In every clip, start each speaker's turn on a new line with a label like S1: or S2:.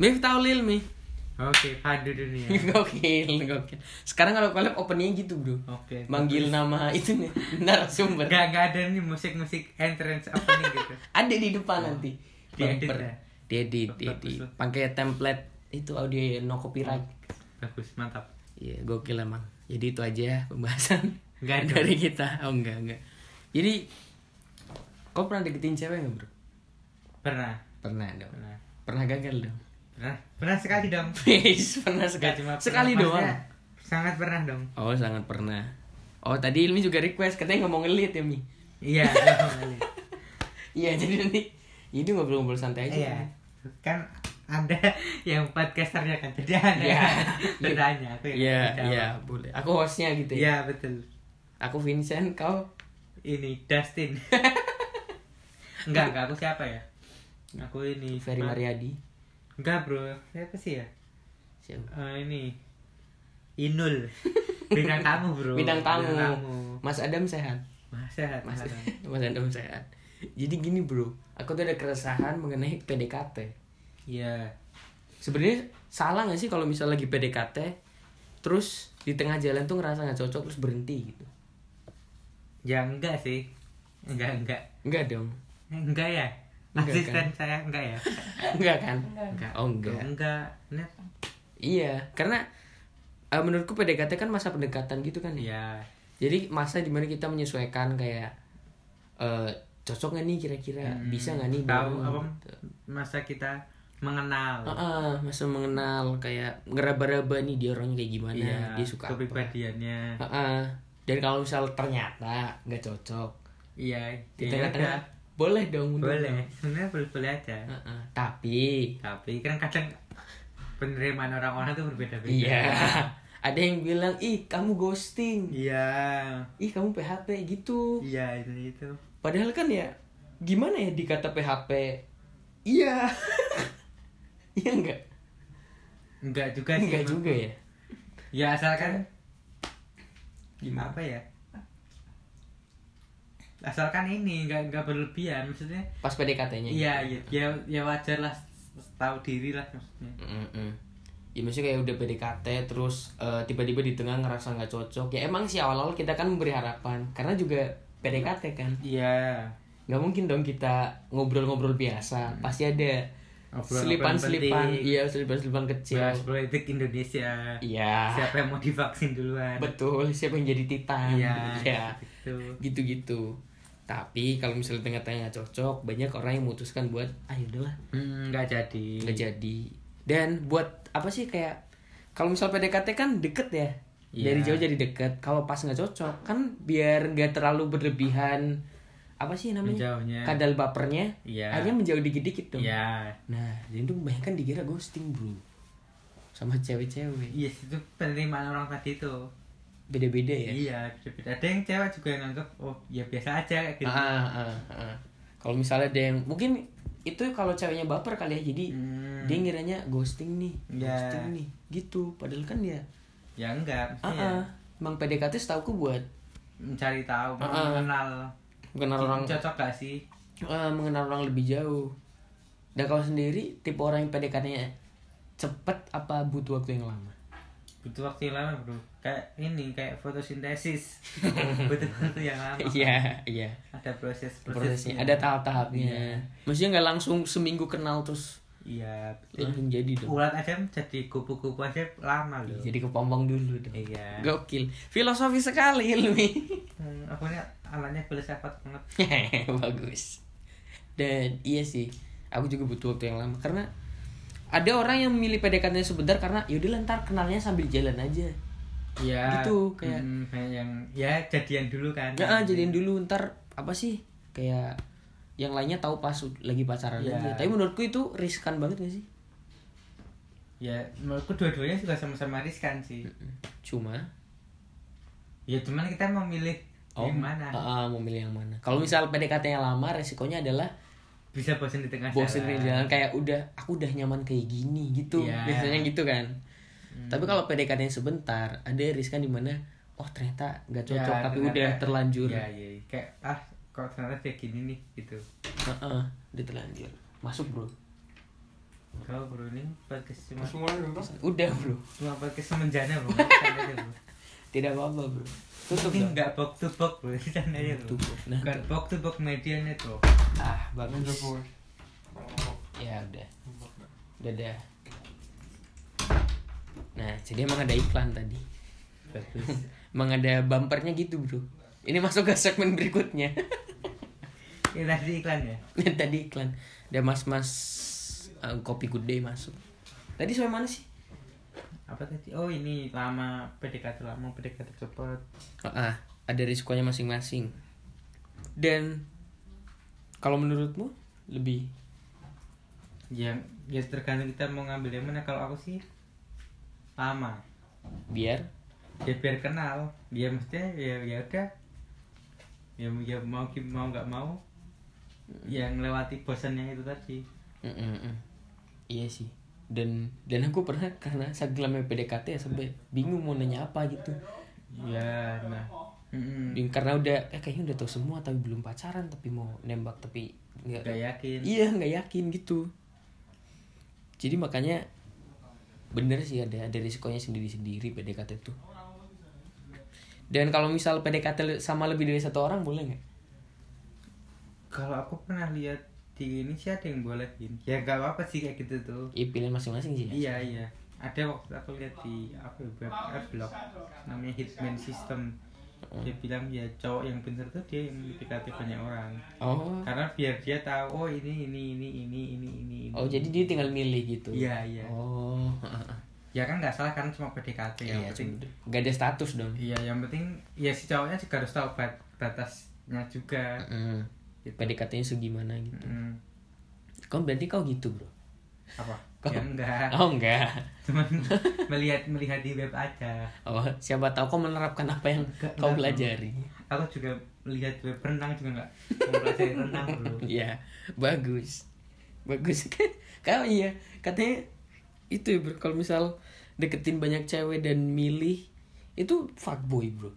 S1: Miftahul Ilmi
S2: Oke, padu dunia.
S1: Gokil, gokil Sekarang kalau collab openingnya gitu bro
S2: Oke.
S1: Manggil nama itu nih, narasumber
S2: Gak, gak ada nih musik-musik entrance opening gitu.
S1: Ada di depan nanti
S2: Diedit
S1: Bumper.
S2: ya?
S1: Diedit,
S2: Bagus,
S1: diedit
S2: bagus. Hmm.
S1: Pakai template itu audio no copyright
S2: Bagus, mantap.
S1: Iya, gokil emang. Jadi itu aja ya pembahasan
S2: Nggak ada.
S1: dari kita. Oh, enggak, enggak. Jadi kau pernah deketin cewek enggak, Bro?
S2: Pernah,
S1: Pernah dong.
S2: pernah,
S1: Pernah gagal dong.
S2: pernah, pernah sekali dong.
S1: Please, pernah
S2: Gak
S1: sekali.
S2: cuma pernah,
S1: sekali doang.
S2: maksudnya Sangat pernah dong.
S1: Oh, sangat pernah. Oh, tadi Ilmi juga request katanya ngomong ngelit ya, Mi.
S2: Iya, dong, Ali.
S1: Iya, jadi nanti jadi ngobrol-ngobrol santai aja.
S2: Iya. Kan ada yang podcasternya kan. Jadi ada
S1: Iya.
S2: yang bertanya. Aku yang
S1: Iya,
S2: jawab.
S1: iya, boleh. Aku hostnya gitu ya.
S2: Iya, betul.
S1: Aku Vincent, kau
S2: Ini Dustin. enggak, enggak aku siapa ya? Aku ini
S1: Ferry
S2: Ma-
S1: Mariadi.
S2: Enggak, Bro. Siapa sih ya?
S1: Siapa?
S2: Eh, ini Inul bintang tamu bro
S1: Bintang tamu. Mas Adam sehat.
S2: masa
S1: Mas,
S2: masa
S1: Mas Adam sehat. Jadi gini bro, aku tuh ada keresahan mengenai PDKT.
S2: iya
S1: Sebenarnya salah nggak sih kalau misalnya lagi PDKT, terus di tengah jalan tuh ngerasa nggak cocok terus berhenti gitu?
S2: ya enggak sih enggak enggak
S1: Enggak dong,
S2: enggak ya
S1: Enggak,
S2: asisten saya enggak ya
S1: enggak kan? Oh
S2: enggak
S1: enggak.
S2: enggak net
S1: Iya, karena eh, menurutku PDKT kan masa pendekatan gitu kan ya.
S2: ya
S1: Jadi masa dimana kita menyesuaikan kayak eh, cocok nggak nih kira-kira, bisa nggak nih?
S2: Hmm. tahu
S1: bareng
S2: apa
S1: gitu.
S2: masa kita mengenal
S1: Heeh, masa mengenal kayak ngeraba-raba nih dia orangnya kayak gimana,
S2: Iya,
S1: dia suka apa.
S2: kepribadiannya
S1: Heeh. Dan kalau misal ternyata nggak cocok,
S2: iya
S1: di
S2: ya
S1: tengah-tengah
S2: udah.
S1: boleh dong mundur
S2: boleh
S1: dong.
S2: sebenarnya boleh boleh aja
S1: Heeh. Tapi
S2: tapi kan kadang penerimaan orang-orang tuh berbeda-beda
S1: iya ada yang bilang ih kamu ghosting,
S2: iya
S1: ih kamu PHP gitu.
S2: iya itu itu
S1: Padahal kan ya gimana ya dikata PHP? Iya. Iya enggak?
S2: Enggak juga Iya sih.
S1: Enggak
S2: Bang.
S1: juga ya.
S2: Ya asalkan
S1: Gimana?
S2: apa ya? Asalkan ini enggak enggak berlebihan maksudnya.
S1: Pas PDKT-nya.
S2: Iya, ya, ya, ya wajar lah tahu diri lah maksudnya.
S1: Mm-mm. Ya maksudnya kayak udah PDKT terus eh, tiba-tiba di tengah ngerasa nggak cocok. Ya emang sih awal-awal kita kan memberi harapan karena juga PDKT kan.
S2: Iya.
S1: Nggak mungkin dong kita ngobrol-ngobrol biasa. Pasti ada
S2: Hmm. Obrolan-obrolan
S1: selipan-selipan.
S2: penting.
S1: Iya, selipan-selipan kecil.
S2: Bahas politik Indonesia.
S1: Iya.
S2: Siapa yang mau divaksin duluan?
S1: Betul, siapa yang jadi titan.
S2: Iya.
S1: Iya.
S2: Gitu.
S1: Gitu-gitu. Tapi kalau misalnya tengah-tengah nggak cocok, banyak orang yang memutuskan buat ah udahlah
S2: Hmm, enggak jadi.
S1: nggak jadi dan buat apa sih kayak kalau misal PDKT kan deket ya
S2: Iya.
S1: dari jauh jadi deket kalau pas nggak cocok kan biar nggak terlalu berlebihan apa sih namanya
S2: Menjauhnya.
S1: kadal bapernya
S2: Iya.
S1: akhirnya menjauh dikit-dikit dong
S2: Iya.
S1: nah jadi tuh kebanyakan dikira ghosting bro sama cewek-cewek
S2: Iya, itu penerimaan orang tadi itu.
S1: beda-beda ya
S2: Iya, beda-beda. Ada yang cewek juga yang nganggap, oh ya biasa aja kayak gitu.
S1: Ah, ah, ah. kalau misalnya ada yang mungkin itu kalau ceweknya baper kali ya jadi
S2: Hmm.
S1: dia ngiranya ghosting nih
S2: Iya.
S1: ghosting nih gitu padahal kan ya
S2: Ya enggak,
S1: Ah,
S2: maksudnya
S1: ah. emang PDKT setahuku buat
S2: mencari tahu, mau
S1: Heeh.
S2: mengenal
S1: mengenal orang
S2: cocok gak sih?
S1: eh, mengenal orang lebih jauh. Dan kau sendiri tipe orang yang PDKT-nya cepet apa butuh waktu yang lama?
S2: Butuh waktu yang lama bro. Kayak ini, kayak fotosintesis. Butuh waktu yang lama.
S1: Iya, iya.
S2: Ada gitu. proses
S1: Prosesnya ada tahap-tahapnya. Maksudnya nggak langsung seminggu kenal terus
S2: Iya.
S1: langsung jadi dong.
S2: Ulat aja jadi kupu-kupu aja lama loh.
S1: Jadi kepompong dulu dong.
S2: Iya.
S1: Gokil. Filosofi sekali ilmi.
S2: Hmm, aku ini anaknya filsafat banget.
S1: Bagus. Dan iya sih, aku juga butuh waktu yang lama karena ada orang yang memilih PDKT sebentar karena yaudah lah, ntar kenalnya sambil jalan aja.
S2: Iya.
S1: Gitu, kayak-
S2: Hmm, kayak yang ya jadian dulu kan.
S1: Ya, ah, jadian dulu ntar apa sih kayak yang lainnya tahu pas lagi pacaran
S2: Iya.
S1: aja. Tapi menurutku itu riskan banget gak sih?
S2: Ya, menurutku dua-duanya juga sama-sama riskan sih.
S1: Cuma
S2: Ya cuman kita memilih yang mana.
S1: ah, ah, memilih yang mana? Kalau misal PDKT yang lama resikonya adalah
S2: Bisa bosan di tengah
S1: bosen
S2: jalan.
S1: di jalan kayak udah aku udah nyaman kayak gini gitu.
S2: Iya. Hmm.
S1: Biasanya gitu kan. Tapi kalau PDKT yang sebentar ada riskan dimana oh ternyata nggak
S2: Ya,
S1: cocok tapi
S2: ternyata-
S1: udah terlanjur
S2: ya iya iya. kayak ah kok ternyata kayak gini nih gitu
S1: Heeh, udah terlanjur masuk bro
S2: kalau bro ini podcast cuma
S3: Semua dulu.
S1: udah bro
S2: cuma podcast semenjana bro Bercanda aja, bro.
S1: tidak apa apa bro tutup
S2: ini
S1: dong
S2: nggak box to box bro Bercanda aja bro
S1: Tutup. Nah,
S2: bukan
S1: tutup.
S2: box to box media network
S1: ah
S3: Ini
S1: bagus
S3: Jokowi.
S1: ya udah dadah nah jadi emang ada iklan tadi
S2: bagus
S1: emang ada bumpernya gitu bro ini masuk ke segmen berikutnya
S2: ini tadi iklan ya
S1: Ini tadi iklan ada mas mas kopi good day masuk tadi sampai mana sih
S2: apa tadi oh ini lama PDKT lama PDKT cepat
S1: Ah, ada risikonya masing-masing. Dan kalau menurutmu lebih
S2: ya ya tergantung kita mau ngambil yang mana kalau aku sih lama
S1: biar
S2: ya biar kenal dia mestinya ya ya udah ya, ya mau gim- mau nggak mau
S1: Hmm.
S2: yang lewati bosannya itu tadi
S1: Mm-mm-mm. Iya sih. Dan dan aku pernah karena segelamnya PDKT ya sampai bingung mau nanya apa gitu.
S2: ya nah Mm-mm.
S1: Bing- Karena udah eh, kayaknya udah tahu semua tapi belum pacaran tapi mau nembak tapi
S2: nggak
S1: nggak
S2: yakin
S1: iya nggak yakin gitu. Jadi makanya bener sih ada ada risikonya sendiri-sendiri PDKT tuh. Dan kalau misal PDKT le- sama lebih dari satu orang boleh nggak?
S2: kalau aku pernah lihat di ini sih ada yang bolehin ya nggak apa apa sih kayak gitu tuh
S1: Iya pilihan masing-masing sih. ya.
S2: iya iya ada waktu aku lihat di apa ya, web eh, blog namanya hitman system
S1: Hmm.
S2: dia bilang ya cowok yang pintar tuh dia yang mendekati banyak orang
S1: Oh.
S2: karena biar dia tahu oh ini ini ini ini ini ini ini.
S1: Oh jadi dia tinggal milih gitu.
S2: Iya, iya.
S1: Oh.
S2: ya kan nggak salah kan cuma PDKT yang
S1: Iya,
S2: penting
S1: Gak ada status dong.
S2: iya yang penting ya si cowoknya juga harus tahu bat- batasnya juga
S1: Mm.
S2: Gitu.
S1: PDKT-nya segimana gitu.
S2: Mm,
S1: Kau berarti kau gitu bro?
S2: apa
S1: Kok-
S2: ya enggak
S1: Oh enggak.
S2: cuman melihat melihat di web aja
S1: Oh siapa tahu kau menerapkan apa yang
S2: Enggak,
S1: kau
S2: enggak.
S1: pelajari.
S2: aku juga melihat web renang juga nggak mempelajari renang bro
S1: Iya bagus bagus kau iya katanya itu ya bro kalau misal deketin banyak cewek dan milih itu fuckboy bro.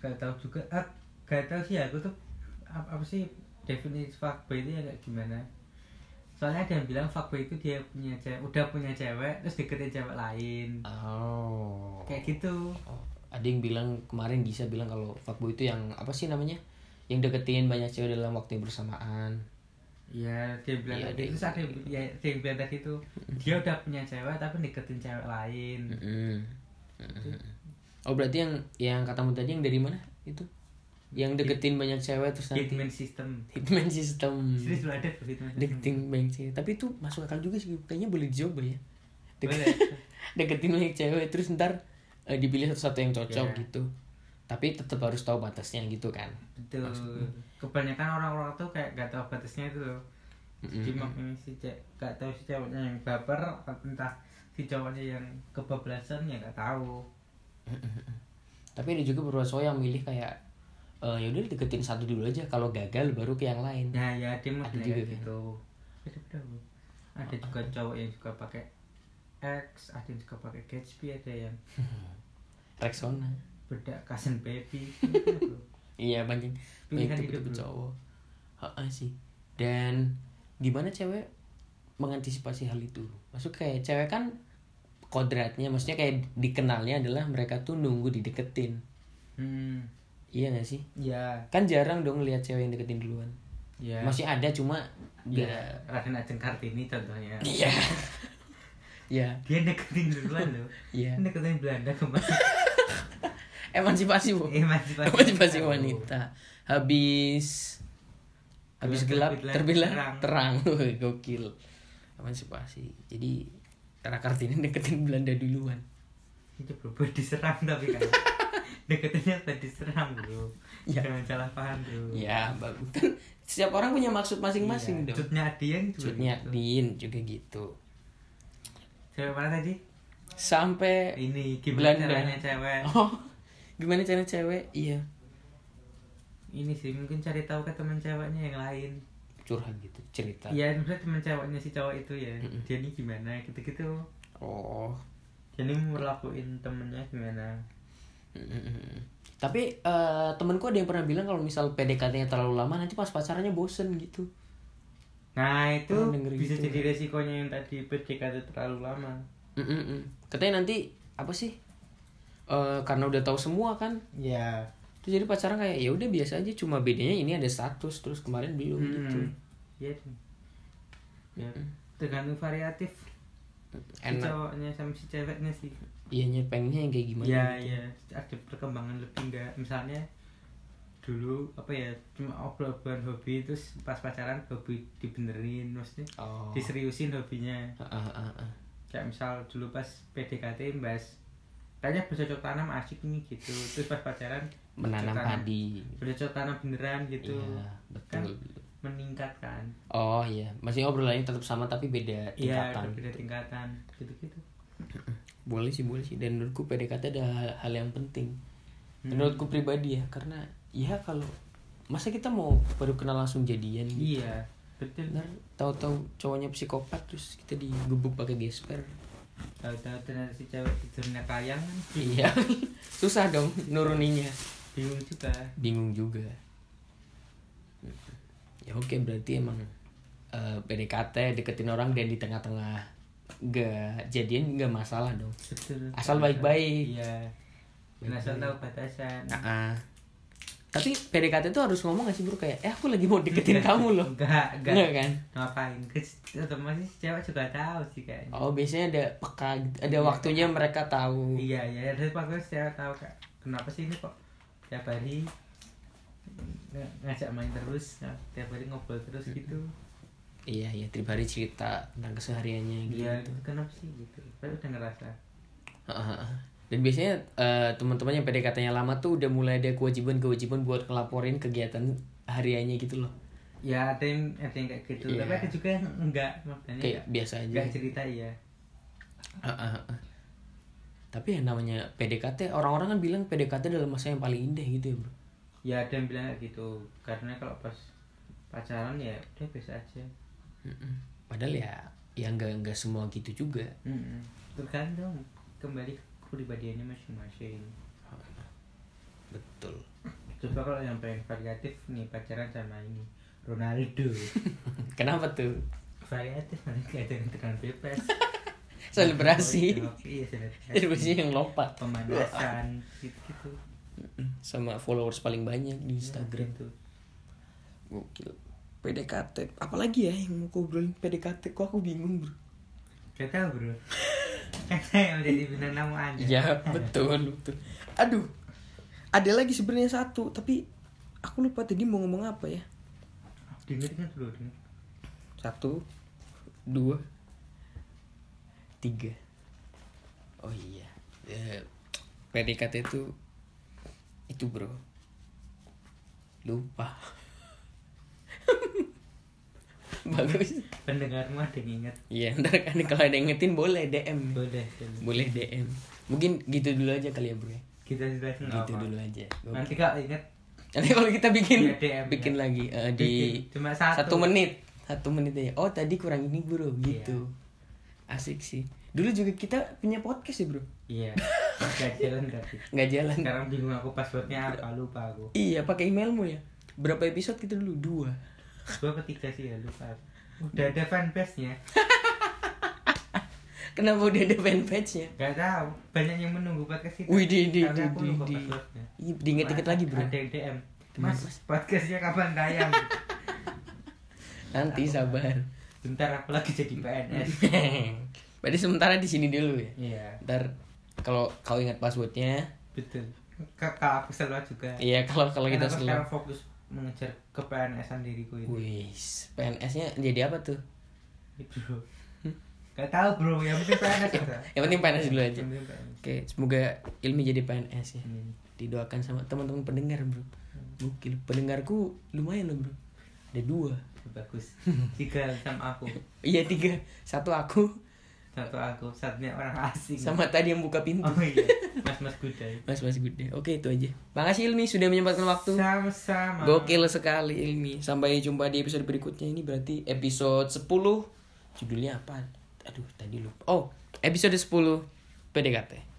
S2: gak tahu juga ah, gak tahu sih aku tuh apa, apa sih definisi fuckboy itu ya kayak gimana soalnya ada yang bilang fuckboy itu dia punya cewek udah punya cewek terus deketin cewek lain
S1: Oh.
S2: kayak gitu
S1: Oh, ada yang bilang kemarin Gisa bilang kalau fuckboy itu yang apa sih namanya? Yang deketin banyak cewek dalam waktu yang bersamaan.
S2: Iya, dia bilang
S1: Iya,
S2: tadi.
S1: dia-
S2: terus ada yang, ya, dia yang bilang tadi tuh dia udah punya cewek tapi deketin cewek lain.
S1: Mm-mm. Mm-mm. Oh berarti yang yang katamu tadi yang dari mana itu? Yang deketin banyak cewek terus nanti
S2: Hitman system.
S1: hitman system.
S2: Jadi sudah ada tuh hitman system.
S1: Deketin banyak cewek. Tapi itu masuk akal juga sih. Kayaknya boleh dicoba ya. Dek-
S2: Boleh.
S1: deketin banyak cewek terus ntar eh, dipilih satu-satu yang cocok
S2: Iya.
S1: gitu. Tapi tetap harus tahu batasnya gitu kan.
S2: Betul. Kebanyakan orang-orang tuh kayak gak tahu batasnya itu loh. Jadi makanya si cewek gak tahu si ceweknya yang baper atau entah si cowoknya yang kebablasan ya gak tahu.
S1: tapi ada juga beberapa cowok yang milih kayak eh ya udah deketin satu dulu aja kalau gagal baru ke yang lain
S2: Nah ya dia mau
S1: Ada juga
S2: kayak
S1: kan?
S2: gitu. Beda-beda, Bu. Ada juga cowok yang suka pakai X, ada yang suka pakai Gatsby, ada yang
S1: Rexona
S2: bedak cousin baby.
S1: iya banyak
S2: Pilihan
S1: banyak tipe-tipe
S2: hidup lu.
S1: cowok Heeh sih dan gimana cewek mengantisipasi hal itu maksud kayak cewek kan kodratnya maksudnya kayak dikenalnya adalah mereka tuh nunggu dideketin
S2: Hmm,
S1: iya gak sih
S2: ya,
S1: kan jarang dong lihat cewek yang deketin duluan
S2: ya.
S1: masih ada cuma
S2: ya.
S1: nggak-
S2: Raden Ajeng Kartini contohnya.
S1: iya iya
S2: Dia deketin duluan loh.
S1: Iya.
S2: Deketin Belanda kemarin.
S1: emansipasi
S2: Iya.
S1: bu
S2: Emansipasi
S1: Emansipasi
S2: wanita.
S1: Oh. wanita habis habis gelap terbilang terang, Wih, gokil emansipasi jadi Tara Kartini deketin Belanda duluan
S2: Itu bro, buat diserang tapi kan. Deketinnya buat diserang bro.
S1: Ya.
S2: Jangan salah paham bro.
S1: ya bagus kan setiap orang punya maksud masing-masing
S2: Iya.
S1: dong
S2: Cutnya Adian juga.
S1: Maksudnya
S2: gitu.
S1: Din juga gitu
S2: Cewek mana tadi?
S1: sampai
S2: Ini gimana
S1: Ya. Belanda.
S2: caranya cewek?
S1: oh gimana cara cewek iya
S2: Ini sih mungkin cari tahu ke teman ceweknya yang lain.
S1: curhat gitu cerita
S2: Iya, maksudnya teman ceweknya si cowok itu ya. Dia ini gimana gitu-gitu.
S1: oh
S2: Jadi mau ngelakuin temennya gimana?
S1: Mm-mm. Tapi eh, temenku ada yang pernah bilang kalau misal PDKT-nya terlalu lama nanti pas pacarannya bosen gitu.
S2: Nah itu
S1: Pernah denger
S2: bisa
S1: gitu,
S2: jadi resikonya yang tadi PDKT terlalu lama.
S1: Mm-mm. Katanya nanti apa sih? Eh, karena udah tahu semua kan.
S2: Ya.
S1: Terus jadi pacaran kayak ya udah biasa aja cuma bedanya ini ada status terus kemarin belum gitu.
S2: Hmm. Iya. deh. Ya. Tergantung variatif si
S1: Enak.
S2: cowoknya sama si ceweknya sih.
S1: Iya pengennya yang kayak gimana?
S2: Ya
S1: gitu.
S2: ya ada perkembangan lebih enggak misalnya dulu apa ya cuma obrolan hobi terus pas pacaran hobi dibenerin maksudnya
S1: Oh.
S2: diseriusin hobinya
S1: Ah, ah, ah, ah.
S2: kayak misal dulu pas PDKT bahas kayaknya bercocok tanam asik nih gitu terus pas pacaran
S1: Menanam
S2: bercocok tanam-
S1: padi.
S2: bercocok tanam beneran gitu
S1: Iya,
S2: kan
S1: betul.
S2: meningkatkan
S1: Oh iya, maksudnya obrolannya tetap sama tapi beda
S2: iya
S1: tingkatan.
S2: beda tingkatan gitu gitu
S1: boleh sih boleh sih dan menurutku PDKT ada hal, hal yang penting
S2: Hmm.
S1: menurutku pribadi ya karena ya kalau masa kita mau baru kenal langsung jadian gitu
S2: iya betul
S1: Ntar tahu-tahu cowoknya psikopat terus kita digebuk pakai gesper
S2: tahu-tahu ternyata si cewek tidurnya kayang kan
S1: iya susah dong nuruninya
S2: bingung juga
S1: bingung juga ya oke berarti emang eh, PDKT deketin orang dan di tengah-tengah gak jadian gak masalah dong
S2: betul
S1: Asal baik-baik.
S2: iya dan asal tahu batasan
S1: Nah, tapi PDKT tuh harus ngomong gak sih bro kayak eh aku lagi mau deketin kamu loh
S2: enggak
S1: enggak
S2: enggak
S1: kan
S2: ngapain terutama sih si cewek juga tahu sih kayaknya
S1: oh biasanya ada peka gitu. ada waktunya mereka tahu
S2: Iya, iya, ada waktu saya tahu kak. Kenapa sih ini kok tiap hari ng- ngajak main terus, ng- tiap hari ngobrol terus gitu.
S1: iya iya tiap hari cerita tentang kesehariannya gitu
S2: Iya, itu kenapa sih gitu? Saya udah ngerasa.
S1: dan biasanya eh, teman-teman yang PDKT-nya lama tuh udah mulai ada kewajiban-kewajiban buat ngelaporin kegiatan hariannya gitu loh
S2: Ya ada yang ada yang kayak gitu,
S1: Iya.
S2: tapi ada juga yang enggak makanya.
S1: kayak biasa aja
S2: Enggak Iya. cerita ya.
S1: Heeh, heeh. tapi yang namanya PDKT orang-orang kan bilang PDKT dalam masa yang paling indah gitu ya bro
S2: Ya ada yang bilang kayak gitu, karena kalau pas pacaran ya udah biasa aja.
S1: Mm-mm. Padahal ya ya nggak nggak semua gitu juga.
S2: Mm-mm. Tergantung kembali ke kepribadiannya masing-masing.
S1: Betul.
S2: Coba kalau yang paling variatif nih pacaran sama ini Ronaldo.
S1: Kenapa tuh?
S2: variatif nanti kelihatan dengan bebas
S1: Selebrasi.
S2: iya selebrasi
S1: Terusnya yang lompat
S2: pemanasan gitu gitu
S1: sama followers paling banyak di Instagram.
S2: tuh
S1: Gokil. PDKT, apalagi ya yang mau aku obrolin PDKT kok aku bingung, Bro.
S2: gak tau bro kan saya yang menjadi bintang tamu anda
S1: Iya, betul, betul. Aduh. Ada lagi sebenarnya satu, tapi aku lupa tadi mau ngomong apa ya.
S2: dengerin dulu dengar kan,
S1: Satu, dua, tiga. Oh iya, Eh, PDKT itu itu bro. Lupa. Bagus.
S2: pendengarmu ada yang ingat
S1: Iya, ntar kan kalau ada yang ngetin boleh DM.
S2: boleh boleh.
S1: Boleh DM. Mungkin gitu dulu aja kali ya bro. ya.
S2: kita jelasin nggak
S1: Gitu
S2: apa-apa.
S1: dulu aja. Oke.
S2: nanti kalau ingat
S1: Nanti kalau kita bikin
S2: Iya, DM,
S1: bikin
S2: ya.
S1: lagi eh, di
S2: Bikin. Cuma satu.
S1: menit satu menit aja. Oh tadi kurang ini bro
S2: Iya.
S1: gitu. Asik sih. Dulu juga kita punya podcast ya bro.
S2: iya gak jalan tapi
S1: Nggak jalan.
S2: sekarang bingung aku passwordnya apa lupa aku
S1: Iya pakai emailmu ya. Berapa episode kita dulu dua.
S2: dua ketiga sih ya lupa aku. udah ada fanbase nya
S1: Kenapa udah ada fanpage nya?
S2: Gak tahu, banyak yang menunggu podcast kita.
S1: Wih di di
S2: Tapi
S1: di
S2: aku
S1: di.
S2: lupa
S1: di.
S2: passwordnya.
S1: Iya, Diinget-inget lagi bro.
S2: Ada yang DM.
S1: Gimana,
S2: Mas,
S1: Mas?
S2: podcastnya kapan tayang?
S1: Nanti sabar.
S2: Bentar aku lagi jadi PNS.
S1: Berarti sementara di sini dulu ya.
S2: Iya,
S1: Ntar kalau kau ingat passwordnya,
S2: betul. K- Kalau aku selalu juga.
S1: iya kalau kalau kita
S2: Karena aku
S1: selalu
S2: sekarang fokus mengejar ke PNS-an diriku ini.
S1: Wis, PNS-nya jadi apa tuh?
S2: Bro. Gak tahu bro, yang penting PNS aja.
S1: Yang penting PNS dulu aja.
S2: Yang penting PNS.
S1: Oke, semoga Ilmi jadi PNS ya.
S2: Amin.
S1: Didoakan sama teman-teman pendengar, Bro. Gokil, pendengarku lumayan loh, Bro. Ada dua.
S2: Bagus. Tiga sama aku.
S1: Iya, tiga. Satu aku
S2: Satu aku, satunya orang asing.
S1: sama tadi yang buka pintu.
S2: Oh iya, mas-mas gudai.
S1: Mas Mas Gude. Oke, itu aja. Makasih Ilmi sudah menyempatkan waktu.
S2: Sama-sama.
S1: Gokil sekali Ilmi. Sampai jumpa di episode berikutnya. Ini berarti episode 10. Judulnya apa? Aduh, tadi lupa. Oh, episode 10 PDKT.